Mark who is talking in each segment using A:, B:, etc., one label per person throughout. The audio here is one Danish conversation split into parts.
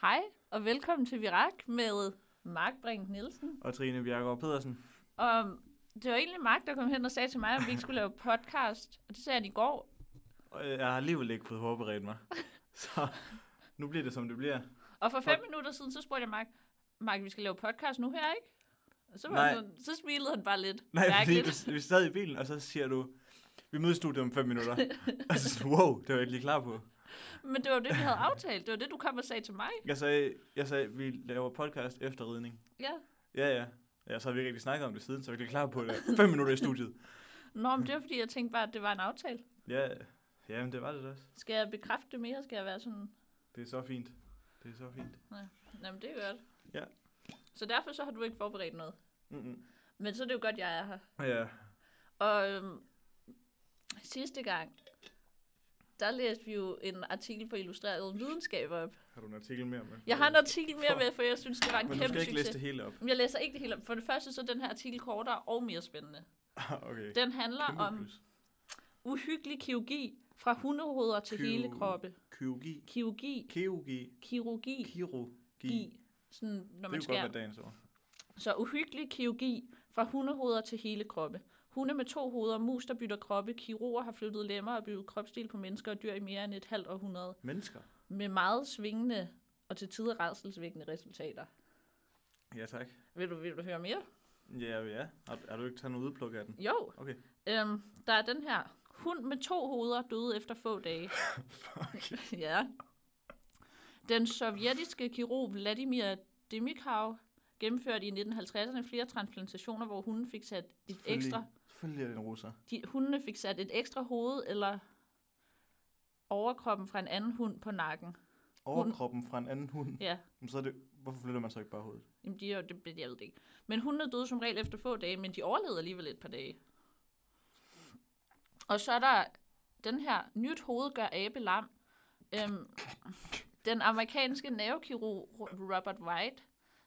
A: Hej og velkommen til Virak med Mark Brink Nielsen.
B: og Trine Bjergaard Pedersen.
A: Og det var egentlig Mark, der kom hen og sagde til mig, at vi ikke skulle lave podcast. Og det sagde han i går.
B: Og øh, jeg har alligevel ikke fået forberedt mig. Så nu bliver det, som det bliver.
A: Og for fem minutter siden, så spurgte jeg Mark, Mark, vi skal lave podcast nu her, ikke? Og så, var han
B: Nej.
A: sådan, så smilede han bare lidt.
B: Nej, fordi
A: mærkeligt.
B: du, vi sad i bilen, og så siger du, vi mødes i studiet om fem minutter. Og så sådan, wow, det var jeg ikke lige klar på.
A: Men det var det, vi havde aftalt. Det var det, du kom og sagde til mig.
B: Jeg sagde, jeg sagde vi laver podcast efter ridning.
A: Ja.
B: Ja, ja. Ja, så har vi ikke rigtig snakket om det siden, så vi er ikke lige klar på det. Fem minutter i studiet.
A: Nå, men det var fordi, jeg tænkte bare, at det var en aftale.
B: Ja, ja, men det var det da også.
A: Skal jeg bekræfte det mere? Skal jeg være sådan...
B: Det er så fint. Det er så fint.
A: Jamen, det er godt.
B: Ja.
A: Så derfor så har du ikke forberedt noget.
B: Mm-mm.
A: Men så er det jo godt, jeg er her.
B: Ja,
A: Og øhm, sidste gang, der læste vi jo en artikel på Illustreret Videnskab op.
B: har du en artikel mere med?
A: Jeg har en artikel mere
B: For-
A: med, for jeg synes, det var en
B: Men du skal
A: kæmpe
B: ikke læse det
A: succes.
B: hele op.
A: Men Jeg læser ikke det hele op. For det første så er den her artikel kortere og mere spændende.
B: okay.
A: Den handler
B: Kæmpe
A: om
B: plus.
A: uhyggelig kirurgi fra hundehoveder til hele
B: Kirurgi.
A: kroppe.
B: Kirurgi.
A: Kirurgi,
B: Kirurgi.
A: kirurgi,
B: Kirurgi.
A: gi. Sådan, når
B: Det
A: man
B: er jo godt
A: skærer.
B: være dagens ord.
A: Så uhyggelig kirurgi fra hundehoveder til hele kroppe. Hunde med to hoveder, mus der bytter kroppe, kirurger har flyttet lemmer og bygget kropsdel på mennesker og dyr i mere end et halvt århundrede.
B: Mennesker.
A: Med meget svingende og til tider redselsvækkende resultater.
B: Ja, tak.
A: Vil du, vil du høre mere?
B: Ja, ja. Har, har du ikke taget noget udpluk af den?
A: Jo.
B: Okay.
A: Øhm, der er den her. Hund med to hoveder døde efter få dage.
B: Fuck.
A: ja. Den sovjetiske kirurg Vladimir Demikhav gennemførte i 1950'erne flere transplantationer, hvor hunden fik sat et
B: Selvfølgelig-
A: ekstra
B: Selvfølgelig er det en russer.
A: de, hundene fik sat et ekstra hoved eller overkroppen fra en anden hund på nakken.
B: Overkroppen fra en anden hund.
A: Ja,
B: Men så er det, hvorfor flytter man så ikke bare hovedet?
A: jamen de, er jo- det, det, jeg ved det ikke. Men hundene døde som regel efter få dage, men de overlevede alligevel et par dage. Og så er der den her, nyt hoved gør abe lam. Øhm, den amerikanske nervekirurg Ro- Robert White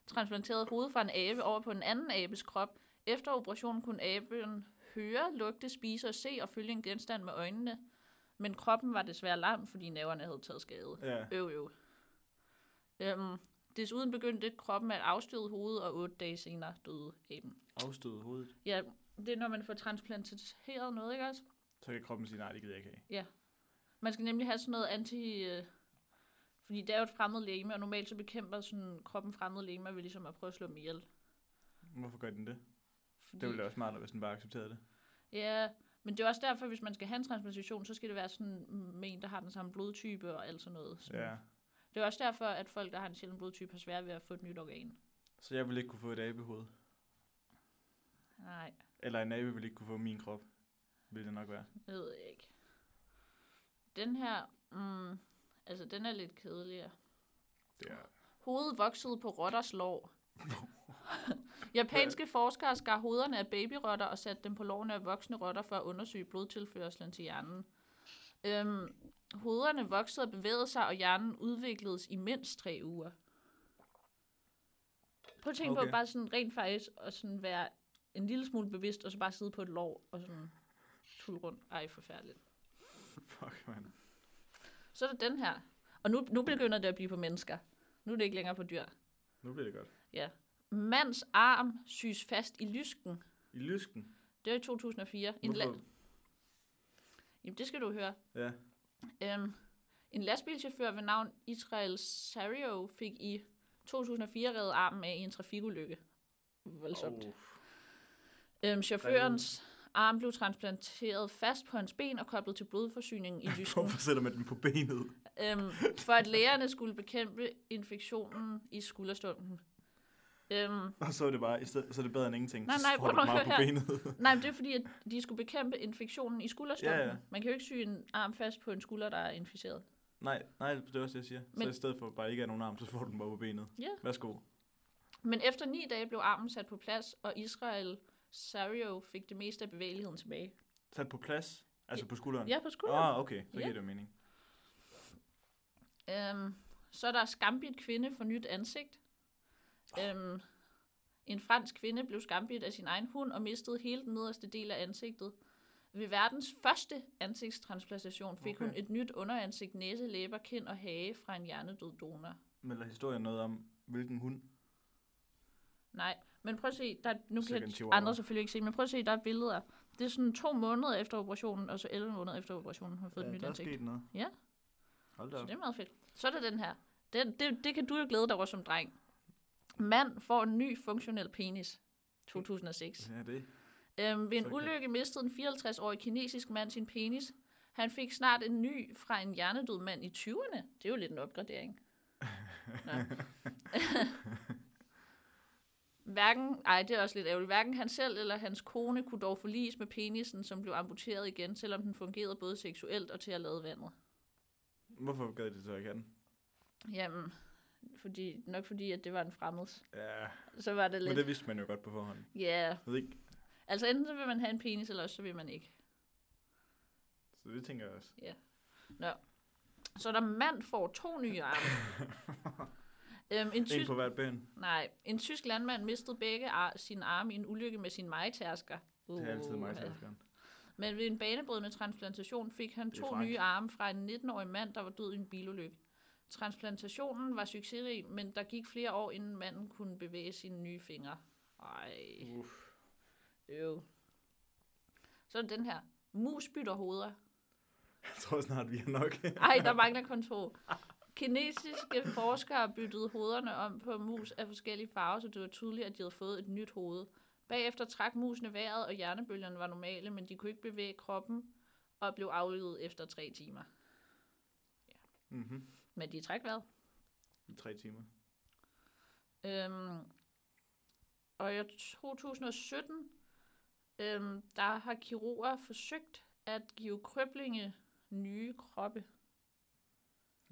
A: transplanterede hovedet fra en abe over på en anden abes krop. Efter operationen kunne aben høre, lugte, spise og se og følge en genstand med øjnene. Men kroppen var desværre lam, fordi nerverne havde taget skade.
B: Ja.
A: Øv, øv. Øhm, desuden begyndte kroppen at afstøde hovedet, og otte dage senere døde aben.
B: Afstøde hovedet.
A: Ja, det er, når man får transplanteret noget, ikke også?
B: Så kan kroppen sige, nej, det gider jeg ikke have.
A: Man skal nemlig have sådan noget anti... Øh, fordi det er jo et fremmed legeme, og normalt så bekæmper sådan kroppen fremmede legemer ved ligesom at prøve at slå dem ihjel.
B: Hvorfor gør den det?
A: Fordi,
B: Det ville da være smartere, hvis den bare accepterede det.
A: Ja, men det er også derfor, hvis man skal have en transplantation, så skal det være sådan med en, der har den samme blodtype og alt sådan noget. Sådan.
B: Ja.
A: Det er også derfor, at folk, der har en sjælden blodtype, har svært ved at få et nyt organ.
B: Så jeg ville ikke kunne få et abehoved.
A: Nej,
B: Eller en abe ville ikke kunne få min krop. Vil det nok være.
A: Jeg ved jeg ikke. Den her, mm, altså den er lidt kedeligere.
B: Det er...
A: Hovedet voksede på rotters lår. Japanske forskere skar hovederne af babyrotter og satte dem på lårene af voksne rotter for at undersøge blodtilførslen til hjernen. Øhm, hovederne voksede og bevægede sig, og hjernen udvikledes i mindst tre uger. Prøv at tænke okay. på
B: Okay.
A: bare sådan rent faktisk at sådan være en lille smule bevidst, og så bare sidde på et lår og sådan tulle rundt. Ej, forfærdeligt.
B: Fuck, man.
A: Så er der den her. Og nu, nu begynder det at blive på mennesker. Nu er det ikke længere på dyr.
B: Nu bliver det godt.
A: Ja. Mands arm syes fast i lysken.
B: I lysken.
A: Det var i 2004. En la-
B: Hvorfor?
A: Jamen, det skal du høre.
B: Ja.
A: Øhm, en lastbilchauffør ved navn Israel Sario fik i 2004 reddet armen af i en trafikulykke. Voldsomt. Oh.
B: Åh,
A: Øhm, chaufførens arm blev transplanteret fast på hans ben og koblet til blodforsyningen i lysken.
B: Hvorfor sætter man den på benet?
A: øhm, for at lægerne skulle bekæmpe infektionen i skulderstunden. Øhm,
B: Og så er det bare, i stedet, så er det bedre end ingenting.
A: Nej,
B: Så
A: nej,
B: får
A: prøv
B: du
A: at
B: meget
A: høre
B: på benet.
A: Nej, men det er fordi, at de skulle bekæmpe infektionen i skulderstokken. Ja,
B: Ja,
A: ja.
B: ja.
A: Man kan jo ikke sy en arm fast på en skulder, der er inficeret.
B: Nej, nej, det er også det, jeg siger. Men...
A: Men-
B: Så i stedet for bare ikke at have nogen arm, så får du den bare på benet.
A: Ja.
B: Værsgo.
A: Men efter ni dage blev armen sat på plads, og Israel Sario fik det meste af bevægeligheden tilbage.
B: Sat på plads, altså på skulderen.
A: Ja, på skulderen.
B: Ah, okay, så
A: Ja.
B: giver det jo mening.
A: Øhm, så er der skambit kvinde for nyt ansigt. Øhm, en fransk kvinde blev skambit af sin egen hund og mistede hele den nederste del af ansigtet. Ved verdens første ansigtstransplantation fik okay. hun
B: Okay.
A: et nyt underansigt, næse, læber, kind og hage fra en hjernedød donor.
B: melder historien noget om, hvilken hund?
A: Nej, men prøv at se, der, nu
B: Sikke en
A: kan
B: chihuahua.
A: andre selvfølgelig ikke se, men prøv at se, der er billeder. Det er sådan to måneder efter operationen, og så 11 måneder efter operationen har fået ja, et nyt
B: der er
A: ansigt.
B: sket noget.
A: Ja.
B: Hold da
A: Så
B: op.
A: det er meget fedt. Så er der den her. Den, det, det kan du jo glæde dig over som dreng. Mand får en ny funktionel penis.
B: Mm.
A: 2006.
B: Ja, det.
A: Øhm, ved en
B: Så kan-
A: ulykke mistede en 54-årig kinesisk mand sin penis. Han fik snart en ny fra en hjernedød mand i 20'erne. Det er jo lidt en opgradering. Nå. Hverken, ej, det er også lidt ærgerligt. Hverken han selv eller hans kone kunne dog forlis med penisen, som blev amputeret igen, selvom den fungerede både seksuelt og til at lade vandet.
B: Hvorfor gad det så ikke have den?
A: Jamen, fordi, nok fordi, at det var en fremmed.
B: Ja,
A: Så var det
B: men
A: lidt...
B: det vidste man jo godt på forhånd.
A: Ja, yeah.
B: Jeg ved ikke,
A: altså enten så vil man have en penis, eller også så vil man ikke.
B: så det tænker jeg også.
A: Så der mand får to nye arme. øhm, en,
B: En
A: tysk,
B: på hvert ben.
A: nej, en tysk landmand mistede begge ar- sine arme i en ulykke med sin majtærsker.
B: Det er altid mig,
A: Uha.
B: uh,
A: Men ved en banebrydende transplantation fik han
B: Det er
A: to
B: frækt.
A: nye arme fra en 19-årig mand, der var død i en bilulykke. Transplantationen var succesrig, men der gik flere år, inden manden kunne bevæge sine nye fingre. Ej.
B: Uff.
A: Øv. Så er der den her. Mus bytter hoveder.
B: Jeg tror snart, vi er nok.
A: Ej, der mangler kun to. Kinesiske forskere byttede hovederne om på mus af forskellige farver, så det var tydeligt, at de havde fået et nyt hoved. Bagefter trak musene vejret, og hjernebølgerne var normale, men de kunne ikke bevæge kroppen og blev aflivet efter tre timer.
B: mm-hmm.
A: Men de trak vejret.
B: I tre timer.
A: Øhm, og i 2017, øhm, der har kirurger forsøgt at give krøblinge nye kroppe.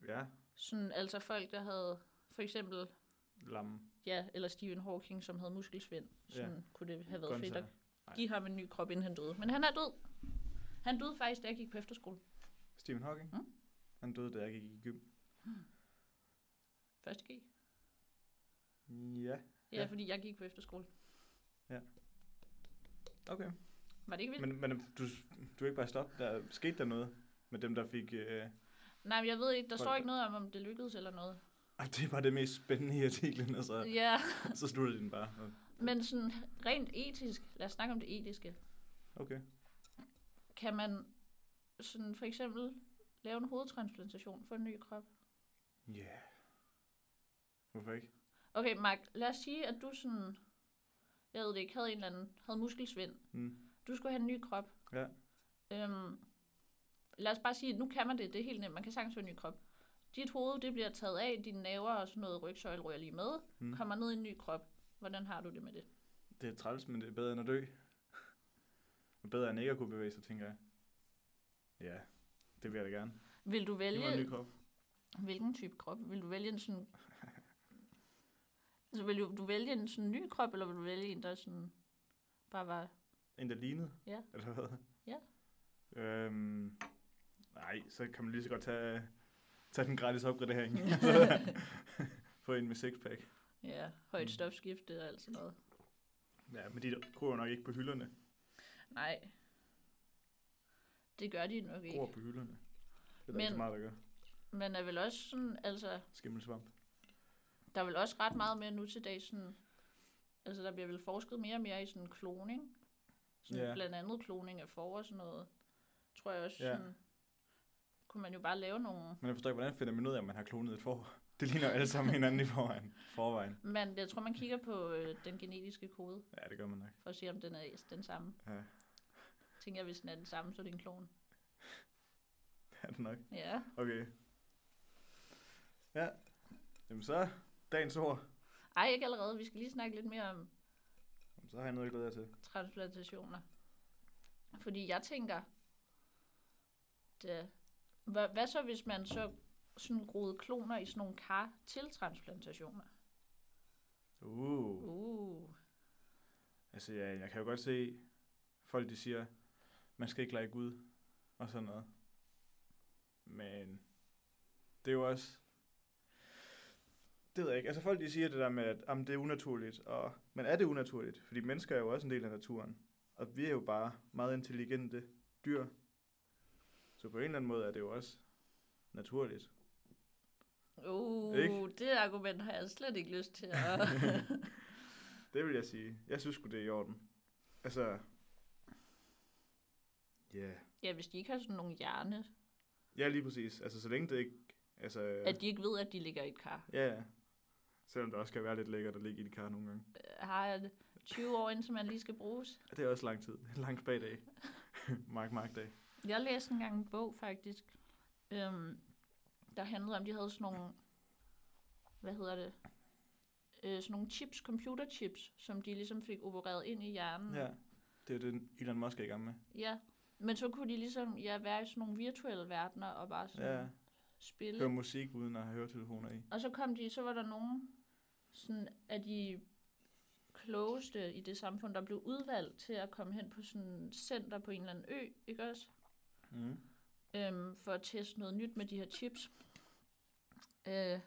B: Ja,
A: Sådan, altså folk, der havde for eksempel
B: lamme.
A: Ja, eller Stephen Hawking, som havde muskelsvind. Sådan ja. kunne det have været
B: Gonza.
A: fedt at
B: Nej.
A: give ham en ny krop, inden han døde. Men han er død. Han døde faktisk, da jeg gik på efterskole.
B: Stephen Hawking?
A: Mm.
B: Han døde, da jeg gik i gym.
A: Første G. Ja,
B: Ja,
A: ja,
B: Ja.
A: fordi jeg gik på efterskole.
B: okay.
A: Var det ikke vildt? Men...
B: Men, men du, du er ikke bare stoppe. Der skete der noget med dem, der fik... Øh...
A: Nej, men jeg ved ikke, der
B: Folk-
A: står ikke noget om, om det lykkedes eller noget.
B: Ej, det er bare det mest spændende i artiklen, og så,
A: Ja,
B: så slutter den bare. Og-
A: men sådan rent etisk, lad os snakke om det etiske.
B: Okay.
A: Kan man sådan for eksempel lave en hovedtransplantation for en ny krop?
B: Ja. Yeah. Hvorfor ikke?
A: Okay, Mark, lad os sige, at du sådan, jeg ved det ikke, havde en eller anden, havde muskelsvind.
B: Mm.
A: Du skulle have en ny krop.
B: Ja.
A: Øhm, lad os bare sige, at nu kan man det. Det er helt nemt. Man kan sagtens få en ny krop. Dit hoved, det bliver taget af. Dine naver og sådan noget rygsøjle rører lige med.
B: Mm.
A: Kommer ned i en ny krop. Hvordan har du det med det?
B: Det er træls, men det er bedre end at dø. Og bedre end ikke at kunne bevæge sig, tænker jeg. Ja, det vil jeg da gerne.
A: Vil du
B: Det var en ny
A: vælge,
B: krop.
A: hvilken type krop? Vil du vælge en sådan... Altså, vil du, du vælge en sådan ny krop, eller vil du vælge en, der sådan bare var...
B: En, der lignede?
A: Ja.
B: Eller hvad?
A: Ja.
B: Øhm, nej, så kan man lige så godt tage, tage den gratis opgradering. Få en med sixpack.
A: Ja, højt
B: Mm.
A: stofskifte og alt sådan noget.
B: Ja, men de gror nok ikke på hylderne.
A: Nej. Det gør de nok ikke.
B: Gror på hylderne. Det er der ikke
A: Men-
B: så meget, der gør.
A: Men er vel også sådan, altså...
B: Skimmelsvamp.
A: Der er vel også ret meget mere nu til dag, sådan, altså der bliver vel forsket mere og mere i sådan kloning. Sådan
B: Ja.
A: Blandt andet kloning af får og sådan noget. Tror jeg også,
B: Ja.
A: sådan, kunne man jo bare lave nogle.
B: Men jeg forstår ikke, hvordan finder man ud af, om man har klonet et får? Det ligner jo alle sammen hinanden i forvejen. forvejen.
A: Men jeg tror, man kigger på øh, den genetiske kode,
B: Ja, det gør man nok.
A: for at se, om den er den samme.
B: Ja,
A: Tænker jeg, hvis den er den samme, så er det en klon.
B: det er det nok.
A: Ja.
B: Okay. Ja. Jamen så, dagens ord.
A: Ej, ikke allerede. Vi skal lige snakke lidt mere om
B: Jamen, så har jeg noget at glæde jer til.
A: transplantationer. Fordi jeg tænker, det, hvad, hvad så hvis man så sådan groede kloner i sådan nogle kar til transplantationer?
B: Uh.
A: Uh,
B: Altså, ja, jeg kan jo godt se, folk de siger, man skal ikke lege Gud, og sådan noget. Men det er jo også... Det ved jeg ikke. Altså, folk de siger det der med, at jamen, det er unaturligt. Og, men er det unaturligt? Fordi mennesker er jo også en del af naturen. Og vi er jo bare meget intelligente dyr. Så på en eller anden måde er det jo også naturligt.
A: Uh,
B: Ikke?
A: det argument har jeg slet ikke lyst til at...
B: Det vil jeg sige. Jeg synes sgu, det er i orden. Altså... Ja. Yeah.
A: ja, hvis de ikke har sådan nogle hjerne,
B: Ja, lige præcis. Altså, så længe det ikke... Altså,
A: at de ikke ved, at de ligger i et kar.
B: Ja, ja. Selvom det også kan være lidt lækkert at ligge i et kar nogle gange.
A: Øh, Har jeg det 20 år, indtil man lige skal bruges?
B: Det er også lang tid. Lang bagdag. mark, mark dag.
A: Jeg læste engang en bog, faktisk, øhm, der handlede om, de havde sådan nogle... Hvad hedder det? Øh, sådan nogle chips, computerchips, som de ligesom fik opereret ind i hjernen.
B: Ja. Det er jo det, Elon Musk er i gang med.
A: ja. Men så kunne de ligesom ja, være i sådan nogle virtuelle verdener og bare sådan
B: Ja.
A: spille.
B: Høre musik uden at have høretelefoner i.
A: Og så kom de, så var der nogen sådan af de klogeste i det samfund, der blev udvalgt til at komme hen på sådan et center på en eller anden ø, ikke også?
B: Mm.
A: Øhm, for at teste noget nyt med de her chips. Øh,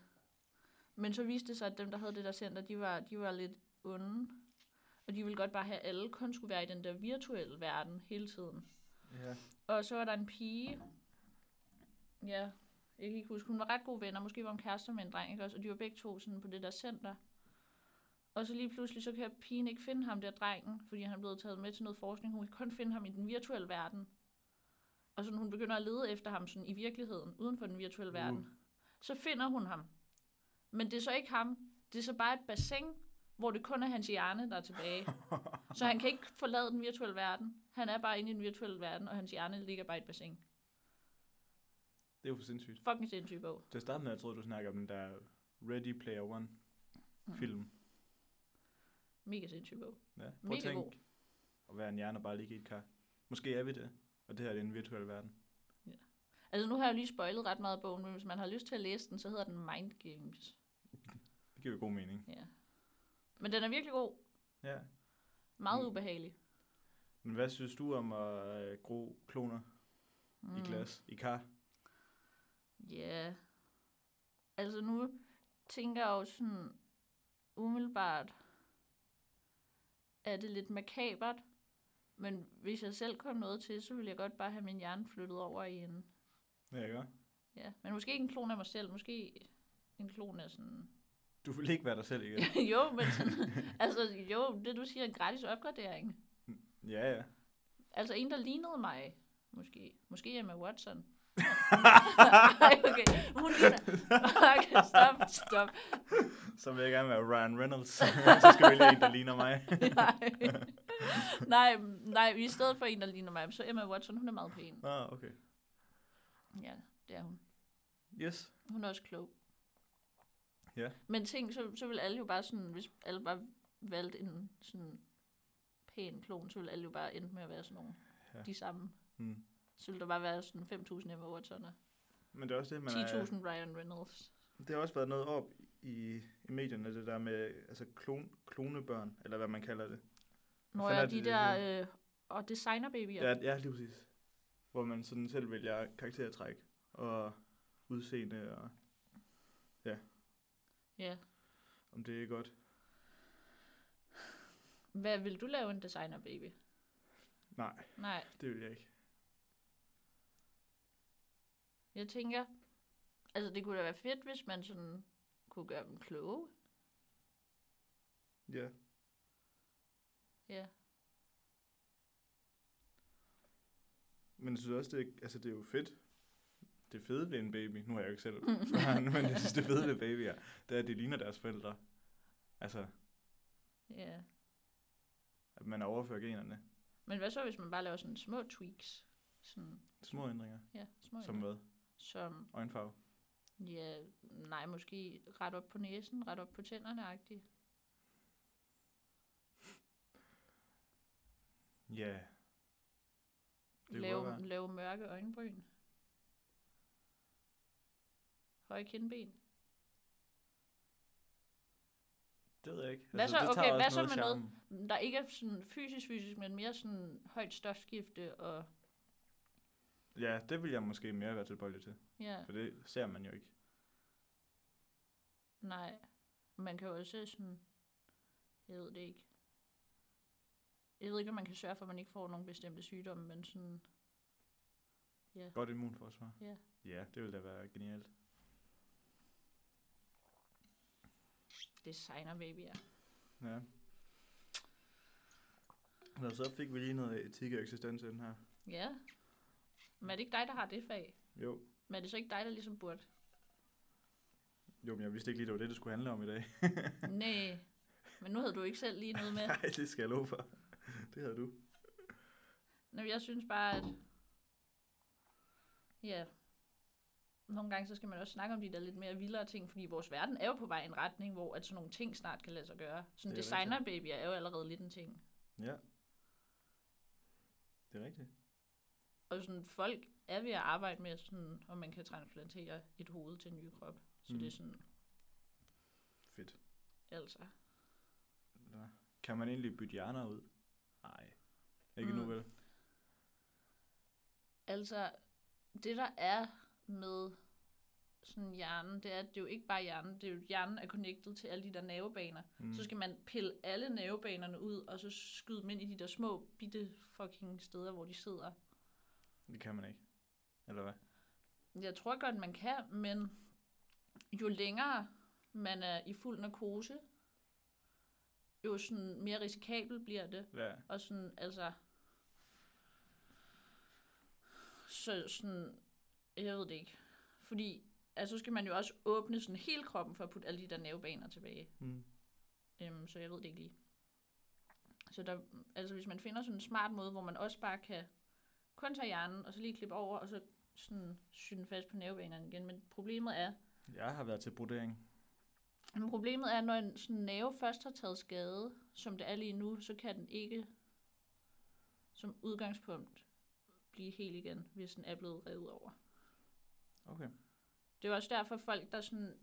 A: men så viste det sig, at dem, der havde det der center, de var, de var lidt onde. Og de ville godt bare have, at alle kun skulle være i den der virtuelle verden hele tiden.
B: Ja.
A: Og så var der en pige, ja, jeg kan ikke huske, hun var ret gode venner, måske var hun kærester med en dreng, ikke også? Og de var begge to sådan på det der center. Og så lige pludselig, så kan pigen ikke finde ham der drengen, fordi han er blevet taget med til noget forskning. Hun kan kun finde ham i den virtuelle verden. Og sådan, hun begynder at lede efter ham sådan i virkeligheden, uden for den virtuelle
B: Uh.
A: verden. Så finder hun ham. Men det er så ikke ham. Det er så bare et bassin, hvor det kun er hans hjerne, der er tilbage. Så han kan ikke forlade den virtuelle verden. Han er bare inde i den virtuelle verden, og hans hjerne ligger bare i et bassin.
B: Det er jo for sindssygt.
A: Fucking sindssyg bog.
B: Til at starte med, jeg troede, du snakkede om den der Ready Player One-film.
A: Mm. Mega sindssyg bog.
B: Ja. Prøv at
A: Mega
B: tænke
A: god.
B: at være en hjerne og bare ligge i et kar. Måske er vi det, og det her det er en virtuel verden.
A: Altså nu har jeg lige spoilet ret meget af bogen, men hvis man har lyst til at læse den, så hedder den Mind Games.
B: Det giver jo god mening.
A: Ja. Men den er virkelig god.
B: Ja.
A: Meget
B: Mm.
A: ubehagelig.
B: Men hvad synes du om at øh, gro kloner mm. i glas, i kar?
A: Ja. Altså nu tænker jeg jo sådan umiddelbart, er det lidt makabert, men hvis jeg selv kom noget til, så ville jeg godt bare have min hjerne flyttet over i en
B: Ja, ikke?
A: Ja, men måske ikke en klon af mig selv, måske en klon af sådan...
B: Du vil ikke være dig selv igen.
A: jo, men sådan, altså jo, det du siger, en gratis opgradering.
B: ja, ja.
A: Altså en, der lignede mig, måske. Måske Emma Watson. Nej, okay. Hun ligner... Okay, stop, stop.
B: Så vil jeg gerne være Ryan Reynolds. så skal vi lige en, der ligner mig.
A: Nej. nej, nej, i stedet for en, der ligner mig, så Emma Watson, hun er meget pæn.
B: ah, okay.
A: Ja, det er hun.
B: Yes.
A: Hun er også klog.
B: Ja.
A: Men tænk, så, så vil alle jo bare sådan, hvis alle bare valgte en sådan pæn klon, så vil alle jo bare ende med at være sådan nogle,
B: Ja.
A: ja. de samme.
B: Mm.
A: Så ville der bare være sådan 5.000 Emma Watson og
B: Men øh, det er også det,
A: 10.000
B: man er,
A: Ryan Reynolds.
B: Det har også været noget op i, i medierne, det der med altså klon, klonebørn, eller hvad man kalder det.
A: Når
B: fanden er
A: jeg de
B: det, det hedder?
A: der, øh, og designerbabyer.
B: Ja, ja lige præcis. Hvor man sådan selv vælger karaktertræk og udseende, og
A: ja.
B: om det er godt.
A: Hvad vil du lave en designerbaby?
B: Nej,
A: Nej,
B: det vil jeg ikke.
A: jeg tænker, altså det kunne da være fedt, hvis man sådan kunne gøre dem kloge.
B: Ja.
A: Ja.
B: Men jeg synes også, det er, altså, det er jo fedt. Det fede ved en baby, nu har jeg jo ikke
A: Mm.
B: selv børn, men jeg synes, det fede ved babyer, det er, at de ligner deres forældre. Altså,
A: Ja.
B: at man overfører generne.
A: Men hvad så, hvis man bare laver sådan små tweaks? Sådan,
B: Små ændringer,
A: ja, små
B: som hvad?
A: som
B: Øjenfarve.
A: ja, nej, måske ret op på næsen, ret op på tænderne agtigt.
B: Ja. Det kunne godt
A: Lave,
B: være.
A: lave mørke øjenbryn. Høje kindben.
B: Det ved jeg ikke.
A: Hvad så? Okay,
B: tager
A: hvad
B: også
A: så med noget-
B: charmen.
A: Der ikke er sådan fysisk fysisk, men mere sådan højt stofskifte og
B: Ja, det vil jeg måske mere være tilbøjelig til,
A: ja,
B: for det ser man jo ikke.
A: nej. Man kan jo også sådan, jeg ved det ikke. Jeg ved ikke, om man kan sørge for, at man ikke får nogle bestemte sygdomme, men sådan,
B: Godt immunforsvar.
A: Ja.
B: Ja, det ville da være genialt.
A: Designerbabyer.
B: Ja. Nå, så fik vi lige noget etik og eksistens i den her.
A: Ja. Men er det ikke dig, der har det fag?
B: Jo.
A: Men er det så ikke dig, der ligesom burde?
B: Jo, men jeg vidste ikke lige, det var det, det skulle handle om i dag.
A: Nej. Men nu havde du ikke selv lige noget med.
B: Nej, det skal jeg love for. Det havde du.
A: Nå, jeg synes bare, at... Ja. Nogle gange så skal man også snakke om de der lidt mere vildere ting, fordi vores verden er jo på vej i en retning, hvor at sådan nogle ting snart kan lade sig gøre. Sådan
B: Det er rigtigt.
A: designerbabyer er jo allerede lidt en ting.
B: Ja. Det er rigtigt.
A: Og sådan folk er ved at arbejde med, sådan, om man kan transplantere et hoved til en ny krop. Så mm. det
B: Mm.
A: er sådan,
B: Fedt.
A: altså...
B: Ja. Kan man egentlig bytte hjerner ud? Nej. Ikke mm. nu
A: Mm.
B: vel?
A: Altså, det der er med sådan hjernen, det er, at det er jo ikke bare hjernen, det er jo, hjernen er connected til alle de der nervebaner. Mm. Så skal man pille alle nervebanerne ud, og så skyde dem ind i de der små, bitte fucking steder, hvor de sidder.
B: Det kan man ikke. Eller hvad?
A: Jeg tror godt, man kan, men jo længere man er i fuld narkose, jo sådan mere risikabel bliver det.
B: Ja.
A: Og sådan, altså... Så sådan... Jeg ved det ikke. Fordi, altså, så skal man jo også åbne sådan hele kroppen for at putte alle de der nervebaner tilbage.
B: Mm.
A: Øhm, så jeg ved det ikke lige. Så der, altså, hvis man finder sådan en smart måde, hvor man også bare kan kun tage hjernen, og så lige klippe over, og så sådan sy den fast på nervebanerne igen. Men problemet er,
B: Jeg har været til brodering.
A: men problemet er, når en sådan nerve først har taget skade, som det er lige nu, så kan den ikke som udgangspunkt blive helt igen, hvis den er blevet revet over.
B: Okay.
A: Det er jo også derfor folk, der sådan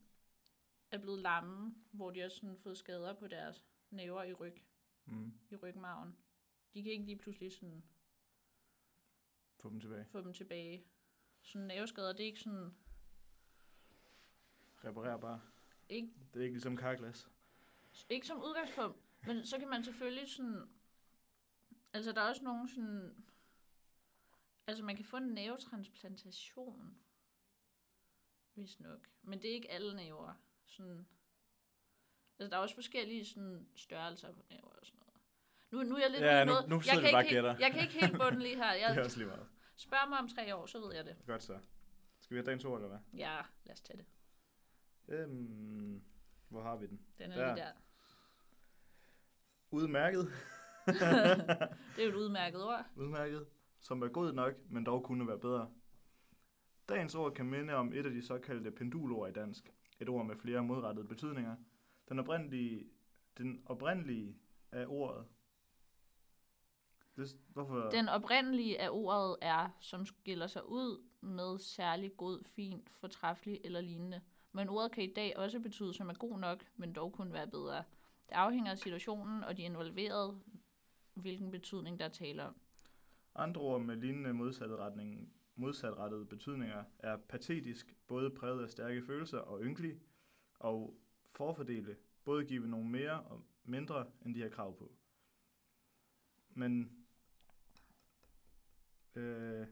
A: er blevet lamme, hvor de også sådan fået skader på deres næver i ryg,
B: Mm.
A: i rygmarven. De kan ikke lige pludselig sådan
B: Få dem tilbage.
A: få dem tilbage. Sådan nerveskader, det er ikke sådan...
B: Reparer bare.
A: Ikke,
B: Det er ikke ligesom karglas.
A: ikke som udgangspunkt, men så kan man selvfølgelig sådan... Altså, der er også nogen sådan... Altså, man kan få en nævetransplantation, hvis nok. Men det er ikke alle næver. Sådan, altså, der er også forskellige sådan, størrelser på næver og sådan noget. Nu, nu er jeg lidt
B: Ja,
A: ude i
B: nu-
A: noget.
B: nu
A: jeg
B: sidder
A: kan
B: vi
A: ikke
B: bare og
A: helt-
B: gætter.
A: Jeg kan ikke helt bunden lige her.
B: Det er
A: Jeg
B: også lige meget.
A: spørger mig om tre år, så ved jeg det.
B: Godt så. Skal vi have dagens ord, eller hvad?
A: Ja, lad os tage det.
B: Øhm, hvor har vi den?
A: Den er
B: Der.
A: der. lige der.
B: Udmærket.
A: Det er jo et udmærket ord.
B: Udmærket. Som er god nok, men dog kunne være bedre. Dagens ord kan minde om et af de såkaldte pendulord i dansk. Et ord med flere modrettede betydninger. Den oprindelige, den oprindelige af ordet. Det, hvorfor?
A: Den oprindelige af ordet er, som skiller sig ud med særlig god, fin, fortræffelig eller lignende. Men ordet kan i dag også betyde, som er god nok, men dog kunne være bedre. Det afhænger af situationen og de involverede, hvilken betydning der er tale om.
B: Andre ord med lignende modsatretning, modsatrettede betydninger er patetisk, både præget af stærke følelser og ynkelig, og forfordele, både give nogle mere og mindre, end de har krav på. Men øh,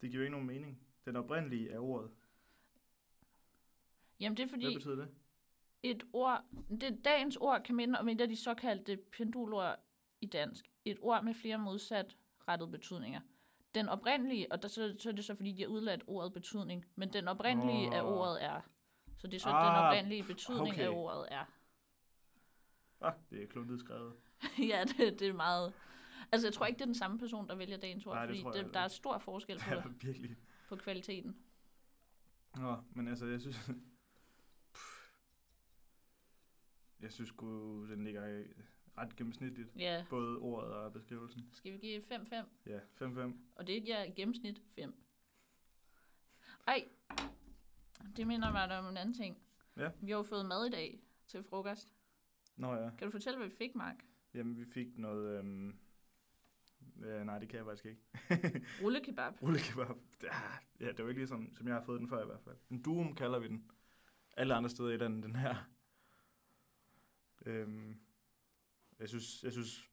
B: det giver jo ikke nogen mening. Den oprindelige er ordet.
A: Jamen det er
B: Hvad
A: fordi
B: betyder det?
A: et ord, det, dagens ord kan minde om et af de såkaldte pendulord i dansk. Et ord med flere modsat rettede betydninger. Den oprindelige, og der, så, så er det så fordi, de har udladt ordet betydning, men den oprindelige af
B: Åh.
A: ordet er. Så det er så den
B: Ah,
A: oprindelige betydning af
B: okay.
A: ordet er.
B: Ah, det er kluntet skrevet.
A: ja, det, det er meget... Altså, jeg tror ikke, det er den samme person, der vælger dagens ord,
B: Nej, det
A: fordi
B: tror jeg
A: det,
B: heller
A: der er
B: ikke.
A: stor forskel
B: Det er
A: på,
B: der virkelig.
A: på kvaliteten.
B: Nå, men altså, jeg synes... Pff. jeg synes sgu, den ligger øh, ret gennemsnitligt.
A: Ja,
B: Både ordet og beskrivelsen.
A: skal vi give 5-5?
B: Ja, 5-5.
A: Og det er ja, i gennemsnit 5. Ej, det minder mig da om en anden ting.
B: Ja.
A: Vi har jo fået mad i dag til frokost.
B: Nå ja.
A: Kan du fortælle, hvad vi fik, Mark?
B: Jamen, vi fik noget... Øhm... Øh, nej, det kan jeg faktisk ikke.
A: Rullekebab.
B: Rullekebab. Ah, Ja, det var ikke ligesom, som jeg har fået den før i hvert fald. En duum kalder vi den. Alle andre steder i landet, den her. Øhm... Jeg synes, jeg synes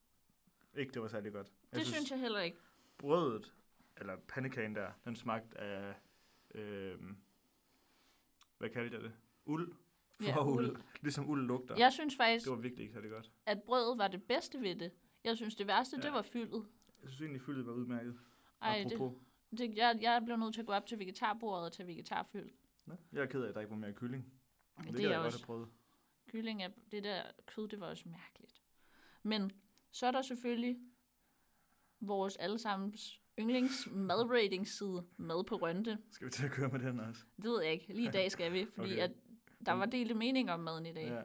B: ikke, det var særlig godt. Jeg
A: Det synes jeg heller ikke.
B: brødet, eller pandekagen der, øh, den smagte af, øhm, hvad kaldte jeg det? Uld? for ja, uld. uld. Ligesom uld lugter.
A: Jeg synes faktisk,
B: Det var virkelig ikke særlig godt.
A: at brødet var det bedste ved det. Jeg synes, det værste, ja.
B: Ja.
A: det var fyldet.
B: Jeg synes egentlig, fyldet var udmærket.
A: Ej, det,
B: Apropos.
A: det, jeg, jeg blev nødt til at gå op til vegetarbordet og tage vegetarfyld.
B: Nå, jeg er ked af, at der ikke var mere kylling. Det,
A: det
B: det kan
A: er
B: jeg godt
A: også-
B: have prøvet.
A: Kylling er, det der kød, det var også mærkeligt. Men så er der selvfølgelig vores allesammens yndlings madratingside mad på Rønte.
B: Skal vi til at køre med den også?
A: Det ved jeg ikke. Lige i dag skal vi, fordi
B: Okay.
A: okay. at der var delte meninger om maden i dag.
B: Ja.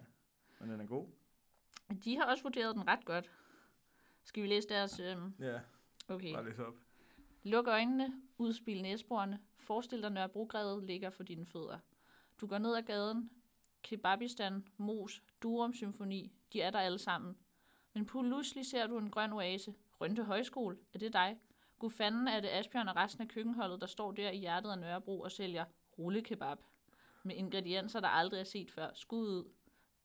B: Men den er god.
A: De har også vurderet den ret godt. Skal vi læse deres... Øhm,
B: Ja,
A: okay.
B: bare læs op.
A: Luk øjnene, udspil næsborene, forestil dig Nørrebrogade ligger for dine fødder. Du går ned ad gaden, Kebabistan, Mos, Durum Symfoni, de er der alle sammen. Men pludselig ser du en grøn oase. Rønte Højskole, er det dig? Gud fanden er det Asbjørn og resten af køkkenholdet, der står der i hjertet af Nørrebro og sælger rullekebab. Med ingredienser, der aldrig er set før. Skud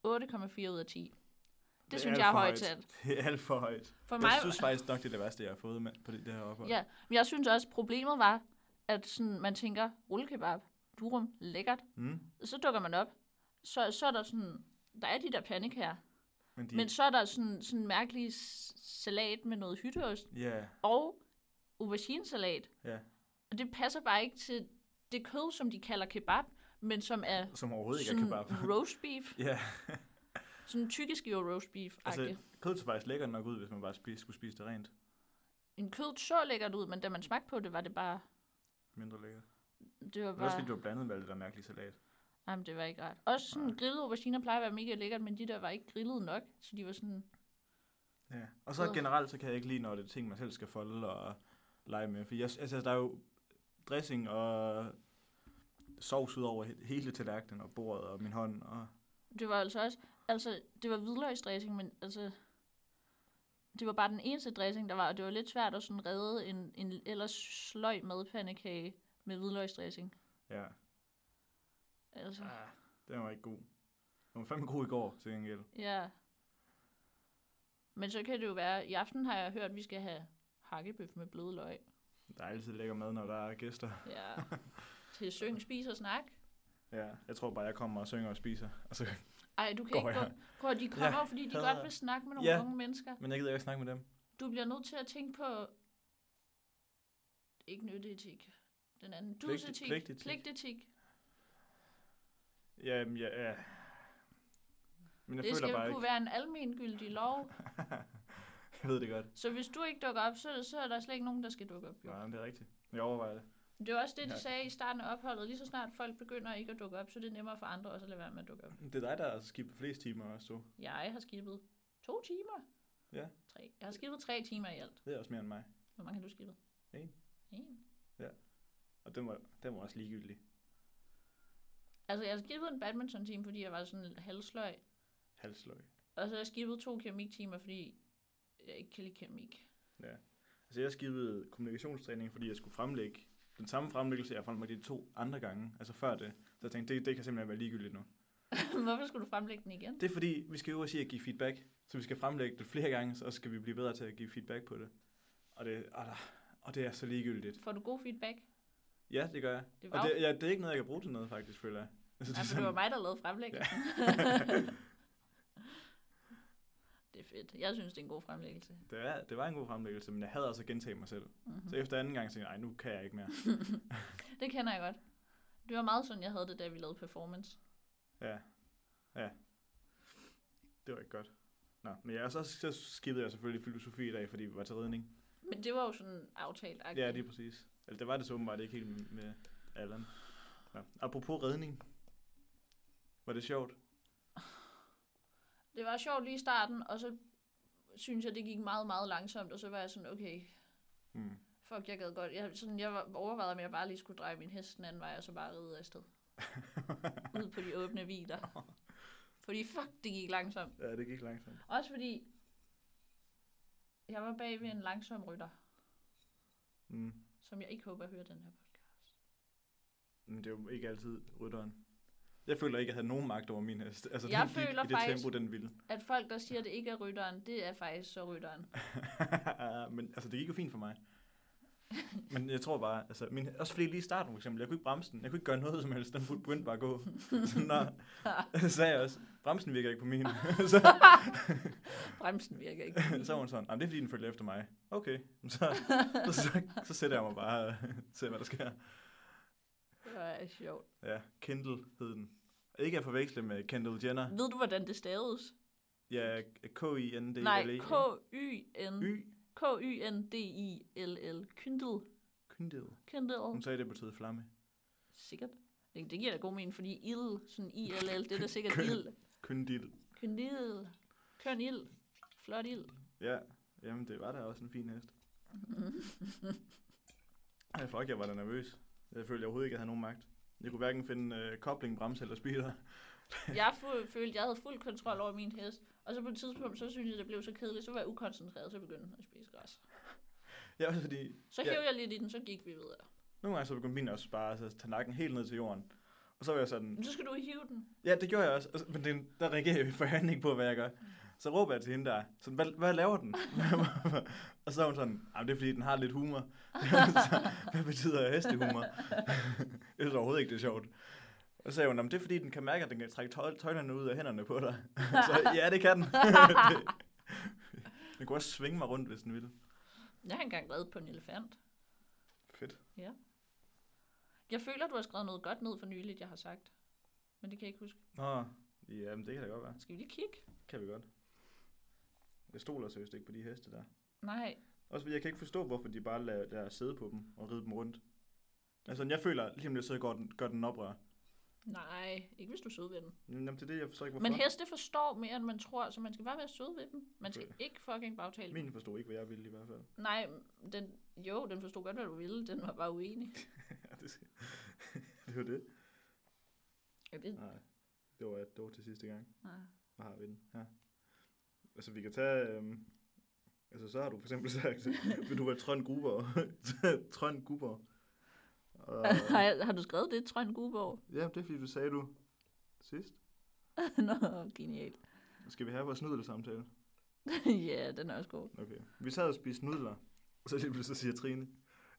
A: ud. 8,4 ud af 10. Det, det synes
B: alt
A: jeg er
B: for
A: højt talt.
B: Det er alt for højt.
A: For
B: Jeg synes faktisk nok, det er det værste, jeg har fået med på det, det her ophold.
A: Ja, men jeg synes også, problemet var, at sådan, man tænker, rullekebab, durum, lækkert.
B: Mm.
A: Så dukker man op. Så, så er der sådan, der er de der panik her.
B: Men de,
A: Men så er der sådan sådan mærkelig s- salat med noget hytteost
B: ja,
A: og auberginesalat.
B: ja,
A: Og det passer bare ikke til det kød, som de kalder kebab, men som er
B: som overhovedet ikke er
A: sådan
B: kebab.
A: roast beef.
B: ja,
A: Sådan typisk jo roast beef
B: altså
A: altså,
B: kød så faktisk lækkert nok ud, hvis man bare spiste, skulle spise det rent.
A: En kød så lækkert ud, men da man smagte på det, var det bare...
B: Mindre lækkert.
A: Det var
B: Men også
A: bare...
B: fordi det var blandet med alt det der mærkelige salat.
A: Jamen, det var ikke rart. Også sådan
B: Nej.
A: grillede auberginer plejer at være mega lækkert, men de der var ikke grillet nok, så de var sådan...
B: Ja. Og så
A: Ugh.
B: generelt, så kan jeg ikke lide, når det er ting, man selv skal folde og lege med. For jeg, altså, der er jo dressing og sovs ud over he- hele tallerkenen og bordet og min hånd. Og
A: Det var altså også... Altså, det var hvidløgsdressing, men altså... Det var bare den eneste dressing, der var, og det var lidt svært at sådan redde en, en ellers sløj madpandekage med hvidløgsdressing.
B: ja,
A: Altså,
B: ah, den var ikke god. Den var fandme god i går, til gengæld.
A: ja. Men så kan det jo være... I aften har jeg hørt, at vi skal have hakkebøf med bløde løg.
B: Der er altid lækker mad, når der er gæster.
A: Ja. Til syng, spis og snak.
B: Ja, jeg tror bare, jeg kommer og synger og spiser. Altså, Og så,
A: Ej, du kan
B: Går
A: ikke
B: jeg.
A: gå... Prøv at de kommer, ja, fordi de
B: hader-
A: godt vil snakke med nogle
B: Ja.
A: unge mennesker.
B: men jeg gider ikke snakke med dem.
A: Du bliver nødt til at tænke på... Ikke nytteetik. Den anden.
B: Pligt-
A: Dusetik.
B: pligtetik.
A: Pligtetik.
B: Jamen, ja, ja. Men jeg
A: Det skal jo
B: føler bare
A: kunne
B: ikke.
A: være en almengyldig lov.
B: jeg ved det godt.
A: Så hvis du ikke dukker op, så, så er der slet ikke nogen, der skal dukke op. Jo.
B: Nej, men det er rigtigt. Jeg overvejer det.
A: Det er også det, de
B: Ja.
A: sagde i starten af opholdet. Lige så snart folk begynder ikke at dukke op, så er det nemmere for andre også at lade være med at dukke op.
B: Det er dig, der har skibet flest timer også, du.
A: Jeg har skibet to timer.
B: Ja.
A: Tre. Jeg har skibet tre timer i alt.
B: Det er også mere end mig.
A: Hvor mange har du skibet?
B: En.
A: En.
B: Og den var, den var også ligegyldig.
A: Altså, jeg har skibet en badminton-time, fordi jeg var sådan lidt halvsløj.
B: Halsløg.
A: Og så har jeg skibet to keramiktimer, fordi jeg ikke kan lide keramik.
B: Altså, jeg skibede kommunikationstræning, fordi jeg skulle fremlægge den samme fremlæggelse, jeg fremlagde de to andre gange, altså før det. Så jeg tænkte, det, det kan simpelthen være ligegyldigt nu.
A: Hvorfor skulle du fremlægge den igen?
B: Det er fordi, vi skal øve os i at give feedback. Så vi skal fremlægge det flere gange, så skal vi blive bedre til at give feedback på det. Og det, og, der, og det er så ligegyldigt.
A: Får du god feedback?
B: Ja, det gør jeg.
A: Det var,
B: Og
A: det,
B: det, ja, det er ikke noget, jeg kan bruge til noget, faktisk, føler jeg. Altså,
A: det, altså, det var mig, der lavede fremlæggelsen. det er fedt. Jeg synes, det er en god fremlæggelse.
B: det, var, det var en god fremlæggelse, men jeg havde også at gentage mig selv.
A: Mm-hmm.
B: Så efter anden gang tænkte jeg, nej, nu kan jeg ikke mere.
A: Det kender jeg godt. Det var meget sådan, jeg havde det, da vi lavede performance.
B: Ja. Ja. Det var ikke godt. Nå, men jeg, så, så skibede jeg selvfølgelig filosofi i dag, fordi vi var til redning.
A: Men det var jo sådan aftalt.
B: Ja, lige præcis. Eller det var det så åbenbart ikke helt med Allan. Nå. Apropos redning. Var det sjovt?
A: det var sjovt lige i starten, og så synes jeg, det gik meget, meget langsomt. Og så var jeg sådan, okay,
B: Mm.
A: fuck, jeg gad godt. Jeg, sådan, jeg var- overvejede, om jeg bare lige skulle dreje min hest den anden vej, og så bare ride afsted. Ud på de åbne hviler. Fordi fuck, det gik langsomt.
B: Ja, det gik langsomt.
A: Også fordi, jeg var bag ved en langsom rytter,
B: Mm.
A: som jeg ikke håber hører den her podcast.
B: Men det er jo ikke altid rytteren. Jeg føler ikke, at jeg havde nogen magt over min hest. Altså,
A: Jeg
B: den gik
A: føler
B: i det
A: faktisk-
B: tempo, den ville.
A: At folk, der siger, at det ikke er rytteren, det er faktisk så rytteren.
B: men altså, det gik jo fint for mig. Men jeg tror bare, altså, min, også fordi lige i starten for eksempel, jeg kunne ikke bremse den. Jeg kunne ikke gøre noget som helst. Den begyndte bare at gå. Så når, så sagde jeg også, bremsen virker ikke på min. så,
A: Bremsen virker ikke.
B: så var hun sådan, "Jamen, det er fordi, den følger efter mig. Okay, Men så, så, så, så sætter jeg mig bare og ser, hvad der sker.
A: Det var sjovt.
B: Ja, Kendall hed den. Ikke at forveksle med Kendall Jenner.
A: Ved du, hvordan det staves?
B: Ja, K-I-N-D-L-E.
A: Nej, K-Y-N...
B: E Y.
A: K-Y-N-D-I-L-L. Kyndel.
B: Kyndel. Hun
A: Kyndel.
B: sagde, det betød flamme.
A: Sikkert. Det, det giver da god mening, fordi ild, sådan I-L-L, det er da sikkert ild.
B: Kyndil.
A: Kyndel. Køn ild. Flot ild.
B: Ja, jamen det var da også en fin hest. ja, fuck, jeg var da nervøs. Jeg følte jeg overhovedet ikke, jeg havde nogen magt. Jeg kunne hverken finde øh, kobling, bremse eller speeder.
A: Jeg fu- følte, jeg havde fuld kontrol over min hest. Og så på et tidspunkt, så syntes jeg, det blev så kedeligt, så var jeg ukoncentreret, så begyndte den at spise græs.
B: Ja, også fordi
A: Så
B: Ja.
A: hævde jeg lidt i den, så gik vi videre.
B: nogle gange så begyndte min også bare altså, at tage nakken helt ned til jorden. Og så var jeg sådan,
A: Men så skal du hive den.
B: ja, det gjorde jeg også. Og så- Men den, der reagerer jeg i forhandling på, hvad jeg gør. Så råber jeg til hende der, sådan, hvad, hvad laver den? og så er hun sådan, "Jamen, det er fordi, den har lidt humor. så, hvad betyder hestehumor? jeg synes overhovedet ikke, det er sjovt. Og så sagde hun, "Nå, men det er fordi, den kan mærke, at den kan trække tøj- tøjlerne ud af hænderne på dig. så ja, det kan den. Det- den kunne også svinge mig rundt, hvis den ville.
A: Jeg har engang reddet på en elefant.
B: Fedt.
A: Jeg føler, du har skrevet noget godt ned for nyligt, jeg har sagt. Men det kan jeg ikke huske.
B: Nå, jamen det kan da godt være.
A: Skal vi lige kigge?
B: Kan vi godt. Jeg stoler seriøst ikke på de heste der.
A: Nej.
B: Også fordi jeg kan ikke forstå, hvorfor de bare lader, lader sidde på dem og ride dem rundt. Altså, jeg føler, lige om lidt så går den, gør den oprør.
A: Nej, ikke hvis du er sød ved dem.
B: Jamen, det er det, jeg forstår ikke, hvorfor.
A: Men heste forstår mere, end man tror, så man skal bare være sød ved dem. Man skal ikke fucking bagtale dem.
B: Min forstod ikke, hvad jeg ville i hvert fald.
A: Nej, den, jo, den forstod godt, hvad du ville. Den var bare uenig.
B: Ja, det, det var det.
A: Ja, det,
B: Nej, det var, det var til sidste gang.
A: nej.
B: Hvad har vi den? Ja. Altså, vi kan tage... Øhm, altså, så har du for eksempel sagt, vil du være Trond Gruber? Trond Gruber. Og,
A: har, har du skrevet det, Trøn Guborg?
B: ja, det er fordi, du sagde du sidst.
A: Nå, genial.
B: Skal vi have vores nudelsamtale?
A: ja, den er også god.
B: Okay. Vi sad og spiste nudler, og så lige pludselig siger Trine,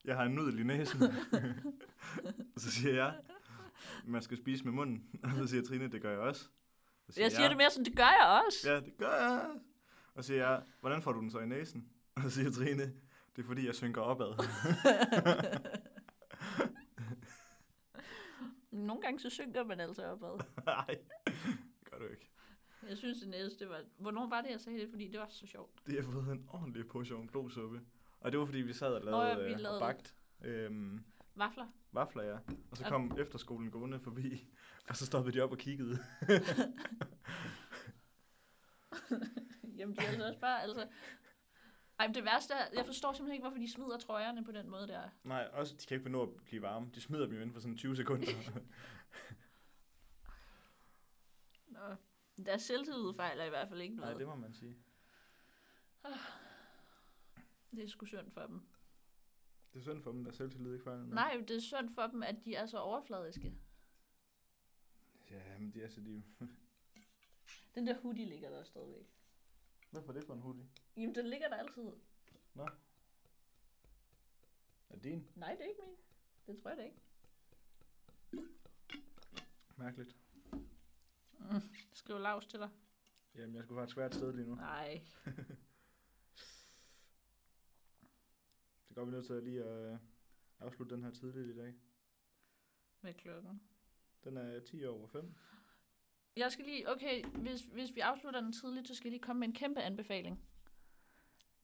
B: jeg har en nudel i næsen. og så siger jeg, man skal spise med munden. Og så siger Trine, det gør jeg også. Så
A: Jeg siger det mere sådan, det gør jeg også.
B: Ja, det gør jeg. også." Og så siger jeg, hvordan får du den så i næsen? Og så siger Trine, det er fordi, jeg synker opad.
A: Nogle gange så synker man altså opad.
B: Nej, det gør du ikke.
A: Jeg synes, det næste var... Hvornår var det, jeg sagde det? Fordi det var så sjovt.
B: Det har fået en ordentlig portion blodsuppe. Og det var fordi, vi sad og
A: Nå,
B: lavede,
A: ja, vi
B: øh,
A: lavede-
B: og bagt. Øhm,
A: Vafler.
B: vafler, ja. Og så
A: Og-
B: kom efterskolen gående forbi, og så stoppede de op og kiggede.
A: Jamen, det er altså også bare... Altså... Ej, men det værste er, jeg forstår simpelthen ikke, hvorfor de smider trøjerne på den måde der.
B: Nej, også, de kan ikke nå at blive varme. De smider dem jo inden for sådan 20 sekunder.
A: Nå. Deres selvtillid fejler i hvert fald ikke
B: Nej,
A: noget.
B: det må man sige.
A: det er sgu synd for dem.
B: Det er synd for dem, der selvtillid ikke fejler noget.
A: Nej, det er synd for dem, at de er så overfladiske.
B: Ja, men de er så de...
A: Den der hoodie ligger der stadigvæk.
B: Hvorfor er det for en hoodie?
A: Jamen, den ligger der altid.
B: Er det din?
A: Nej, det er ikke min. Det tror jeg da ikke.
B: Mærkeligt.
A: Mm, Skriv lavs til dig.
B: Jamen, jeg skulle faktisk være et sted lige nu.
A: Nej.
B: Det går vi nødt til at lige at øh, afslutte den her tidligt i dag.
A: Hvad er klokken?
B: Den er 10 over 5.
A: Jeg skal lige, okay, hvis, hvis vi afslutter den tidligt, så skal jeg lige komme med en kæmpe anbefaling.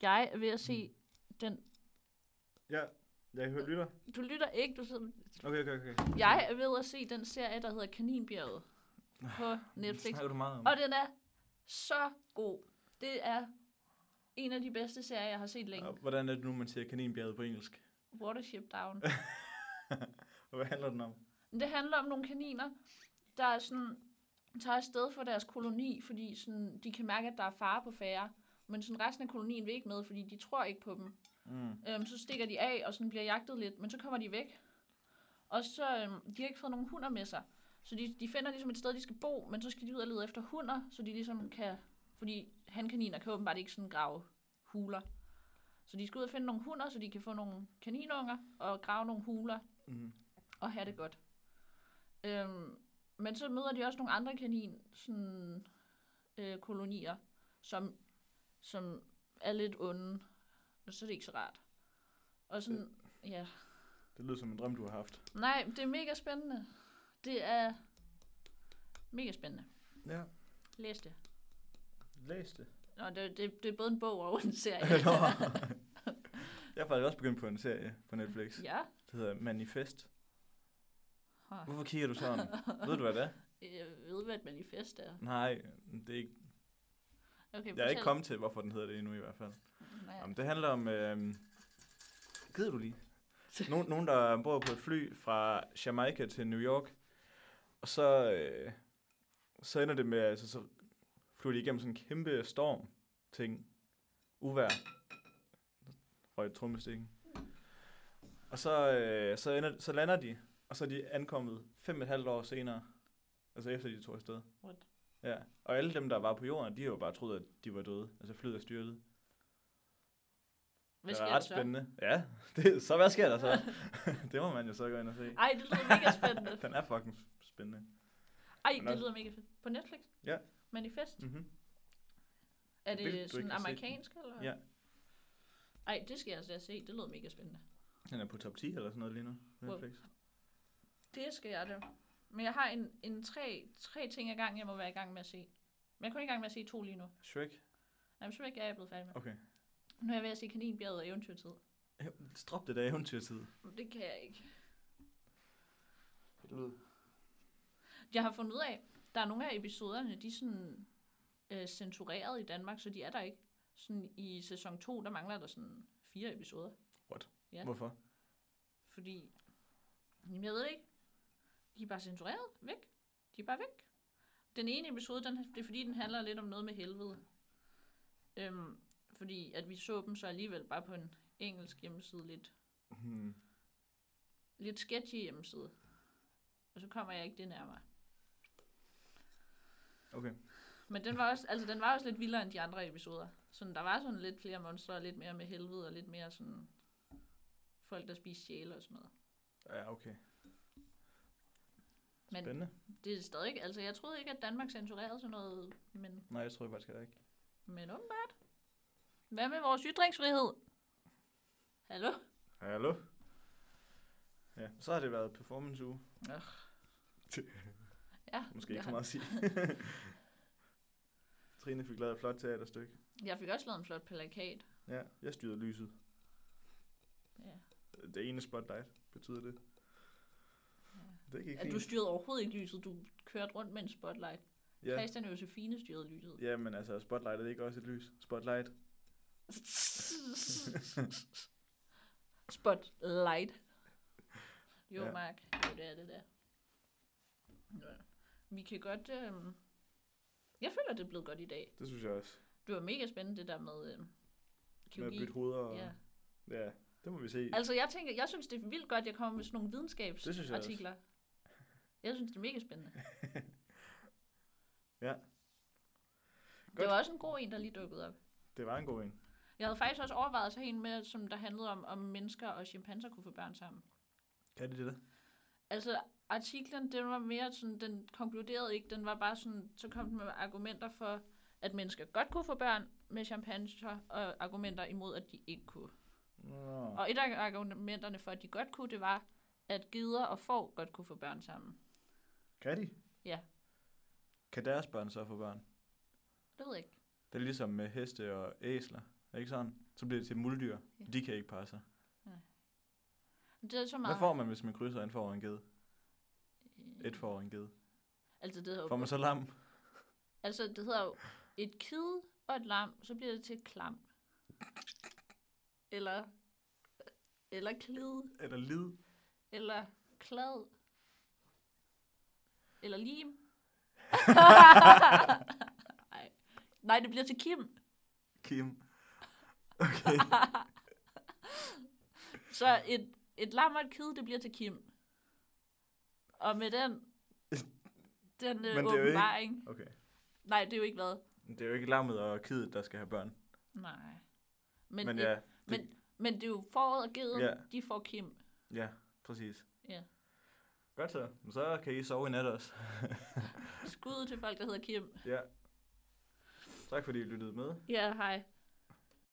A: Jeg er ved at se den...
B: Ja, jeg hører lytter.
A: Du lytter ikke, du sidder...
B: Okay, okay, okay.
A: Jeg er ved at se den serie, der hedder Kaninbjerget på Netflix.
B: Snakker du meget om?
A: Og den er så god. Det er en af de bedste serier, jeg har set længe.
B: Og hvordan er det nu, man siger kaninbjerget på engelsk?
A: Watership Down.
B: Og hvad handler den om?
A: Men Det handler om nogle kaniner, der er sådan, tager afsted for deres koloni, fordi sådan, de kan mærke, at der er fare på færre. Men sådan, resten af kolonien vil ikke med, fordi de tror ikke på dem.
B: Mm.
A: Øhm, så stikker de af, og sådan bliver jagtet lidt, men så kommer de væk. Og så, øhm, de har ikke fået nogen hunder med sig. Så de, de finder ligesom et sted, de skal bo, men så skal de ud og lede efter hunder, så de ligesom kan... Fordi hankaniner kan åbenbart ikke sådan grave huler. Så de skal ud og finde nogle hunder, så de kan få nogle kaninunger og grave nogle huler
B: Mm.
A: og have det godt. Øhm, men så møder de også nogle andre kanin sådan, øh, kolonier, som, som er lidt onde, og så er det ikke så rart. Og sådan,
B: Øh.
A: ja.
B: Det lyder som en drøm, du har haft.
A: Nej, det er mega spændende. Det er mega spændende.
B: Ja.
A: Læs det.
B: Læs det.
A: Nå, det, det, det er både en bog og en serie.
B: Nå. jeg har faktisk også begyndt på en serie på Netflix.
A: ja.
B: Det hedder Manifest.
A: Huh.
B: Hvorfor kigger du sådan? Ved du, hvad det er?
A: Jeg ved, hvad et manifest er.
B: Nej, det er ikke,
A: Okay,
B: jeg er ikke
A: fortæl.
B: kommet til, hvorfor den hedder det endnu i hvert fald.
A: Nej.
B: Jamen, det handler om... Øh, gider du lige? Nogen, nogen, der bor på et fly fra Jamaica til New York. Og så, øh, så ender det med, altså, så flyver de igennem sådan en kæmpe storm. Ting. Uvær. Røg trommestikken. Og så, øh, så, ender, så lander de, og så er de ankommet fem og et halvt år senere. Altså efter de tog afsted.
A: What?
B: Ja. Og alle dem, der var på jorden, de har jo bare troet, at de var døde. Altså flyet er styrtet.
A: Hvad
B: det
A: sker
B: er ret
A: der så?
B: spændende. Ja, det, så hvad sker der så? det må man jo så gå ind og se.
A: Ej, det lyder mega spændende.
B: Den er fucking spændende.
A: Ej,
B: Men
A: det
B: også-
A: lyder mega fedt. På Netflix?
B: Ja.
A: Manifest?
B: Mm-hmm.
A: Er
B: Vil du
A: det
B: ikke
A: sådan
B: have set den?
A: amerikansk? Eller?
B: Ja.
A: Ej, det skal jeg altså se. Det lyder mega spændende.
B: Den er på top 10 eller sådan noget lige nu.
A: Wow.
B: Netflix.
A: Det skal jeg da. Men jeg har en, en tre, tre ting ad gangen, jeg må være i gang med at se. Men jeg er kun i gang med at se to lige nu.
B: Shrek.
A: Jamen, så er jeg blevet færdig med.
B: Okay.
A: Nu er jeg ved at se Kaninbjerget og Eventyrtid.
B: Strop det der eventyrtid.
A: Men Det kan jeg ikke.
B: Det lyder.
A: Jeg har fundet ud af, der er nogle af episoderne, de er sådan øh, censureret i Danmark, så de er der ikke. Sådan i sæson 2, der mangler der sådan fire episoder. Ja.
B: Ja. Hvorfor?
A: Fordi, jamen jeg ved det ikke, de er bare censureret væk. De er bare væk. Den ene episode, den, det er fordi, den handler lidt om noget med helvede. Øhm, fordi at vi så dem så alligevel bare på en engelsk hjemmeside, lidt,
B: Hmm.
A: lidt sketchy hjemmeside. Og så kommer jeg ikke det nærmere.
B: Okay.
A: Men den var også, altså, den var også lidt vildere end de andre episoder. Sådan, der var sådan lidt flere monstre, og lidt mere med helvede, og lidt mere sådan folk, der spiser sjæle og sådan noget.
B: Ja, okay.
A: Men-
B: Spændende.
A: Det er stadig ikke, altså jeg troede ikke, at Danmark censurerede sådan noget, men,
B: Nej, jeg tror faktisk heller ikke.
A: men åbenbart. Hvad med vores ytringsfrihed? Hallo?
B: Hallo? Ja, så har det været performance uge.
A: Ja,
B: Måske ikke
A: jeg,
B: så meget at sige. Trine fik lavet et flot teaterstykke.
A: Jeg fik også lavet en flot plakat.
B: Ja, jeg styrede lyset.
A: Ja.
B: Det ene spotlight betyder det. Det gik
A: At
B: fint.
A: Altså, du styrede overhovedet ikke lyset, du kørte rundt med en spotlight. Ja.
B: Ja.
A: Christian og Josefine styrede lyset.
B: ja, men altså, spotlight er det ikke også et lys? Spotlight.
A: Spotlight. Jo,
B: Ja.
A: ja. Mark. Jo, det er det der. Nå. Vi kan godt... Øh... Jeg føler, det er blevet godt i dag.
B: Det synes jeg også.
A: Det var mega spændende, det der med øh,
B: Med at
A: kirurgi.
B: bytte hoveder. Og...
A: ja.
B: Ja. ja. det må vi se.
A: Altså, jeg tænker, jeg synes, det er vildt godt, at jeg kommer med sådan nogle
B: Det synes jeg også.
A: videnskabsartikler. Jeg synes, det er mega spændende.
B: Ja.
A: Det
B: Godt.
A: var også en god en, der lige dukkede op.
B: Det var en god en.
A: Jeg havde faktisk også overvejet at tage en med, som der handlede om, om mennesker og chimpanser kunne få børn sammen.
B: Kan det det? der?
A: Altså, artiklen, den var mere sådan, den konkluderede ikke, den var bare sådan, så kom den med argumenter for, at mennesker godt kunne få børn med chimpanser, og argumenter imod, at de ikke kunne.
B: Nå.
A: Og et af argumenterne for, at de godt kunne, det var, at gider og får godt kunne få børn sammen.
B: Kan de?
A: Ja.
B: Kan deres børn så få børn?
A: Det ved jeg ikke.
B: Det er ligesom med heste og æsler. Ikke sådan? Så bliver det til muldyr.
A: Ja.
B: De kan ikke passe sig.
A: Men det er så meget... øh,
B: Hvad får man, hvis man krydser en for og en ged? Et for og en ged.
A: Altså, det hedder,
B: Får
A: jo,
B: man så lam?
A: altså, det hedder jo et kid og et lam, så bliver det til et klam. Eller, eller klid,
B: Eller lid?
A: eller klad. Eller lim. Nej. Nej, det bliver til Kim.
B: Kim.
A: Så et, et lam og et kid, det bliver til Kim. Og med den, den
B: det er
A: øh,
B: jo ikke-
A: åbenbaring... Ikke...
B: Okay.
A: Nej, det er jo ikke hvad.
B: Det er jo ikke lammet og kidet, der skal have børn.
A: Nej. Men,
B: Men, Men
A: et,
B: ja, Det-
A: Men, men det er jo foråret og geden,
B: Ja.
A: de får Kim.
B: Ja, præcis.
A: Ja.
B: Godt så. Men Så kan I sove i nat også.
A: Skud til folk, der hedder Kim.
B: ja. Tak fordi I lyttede med.
A: Ja, hej.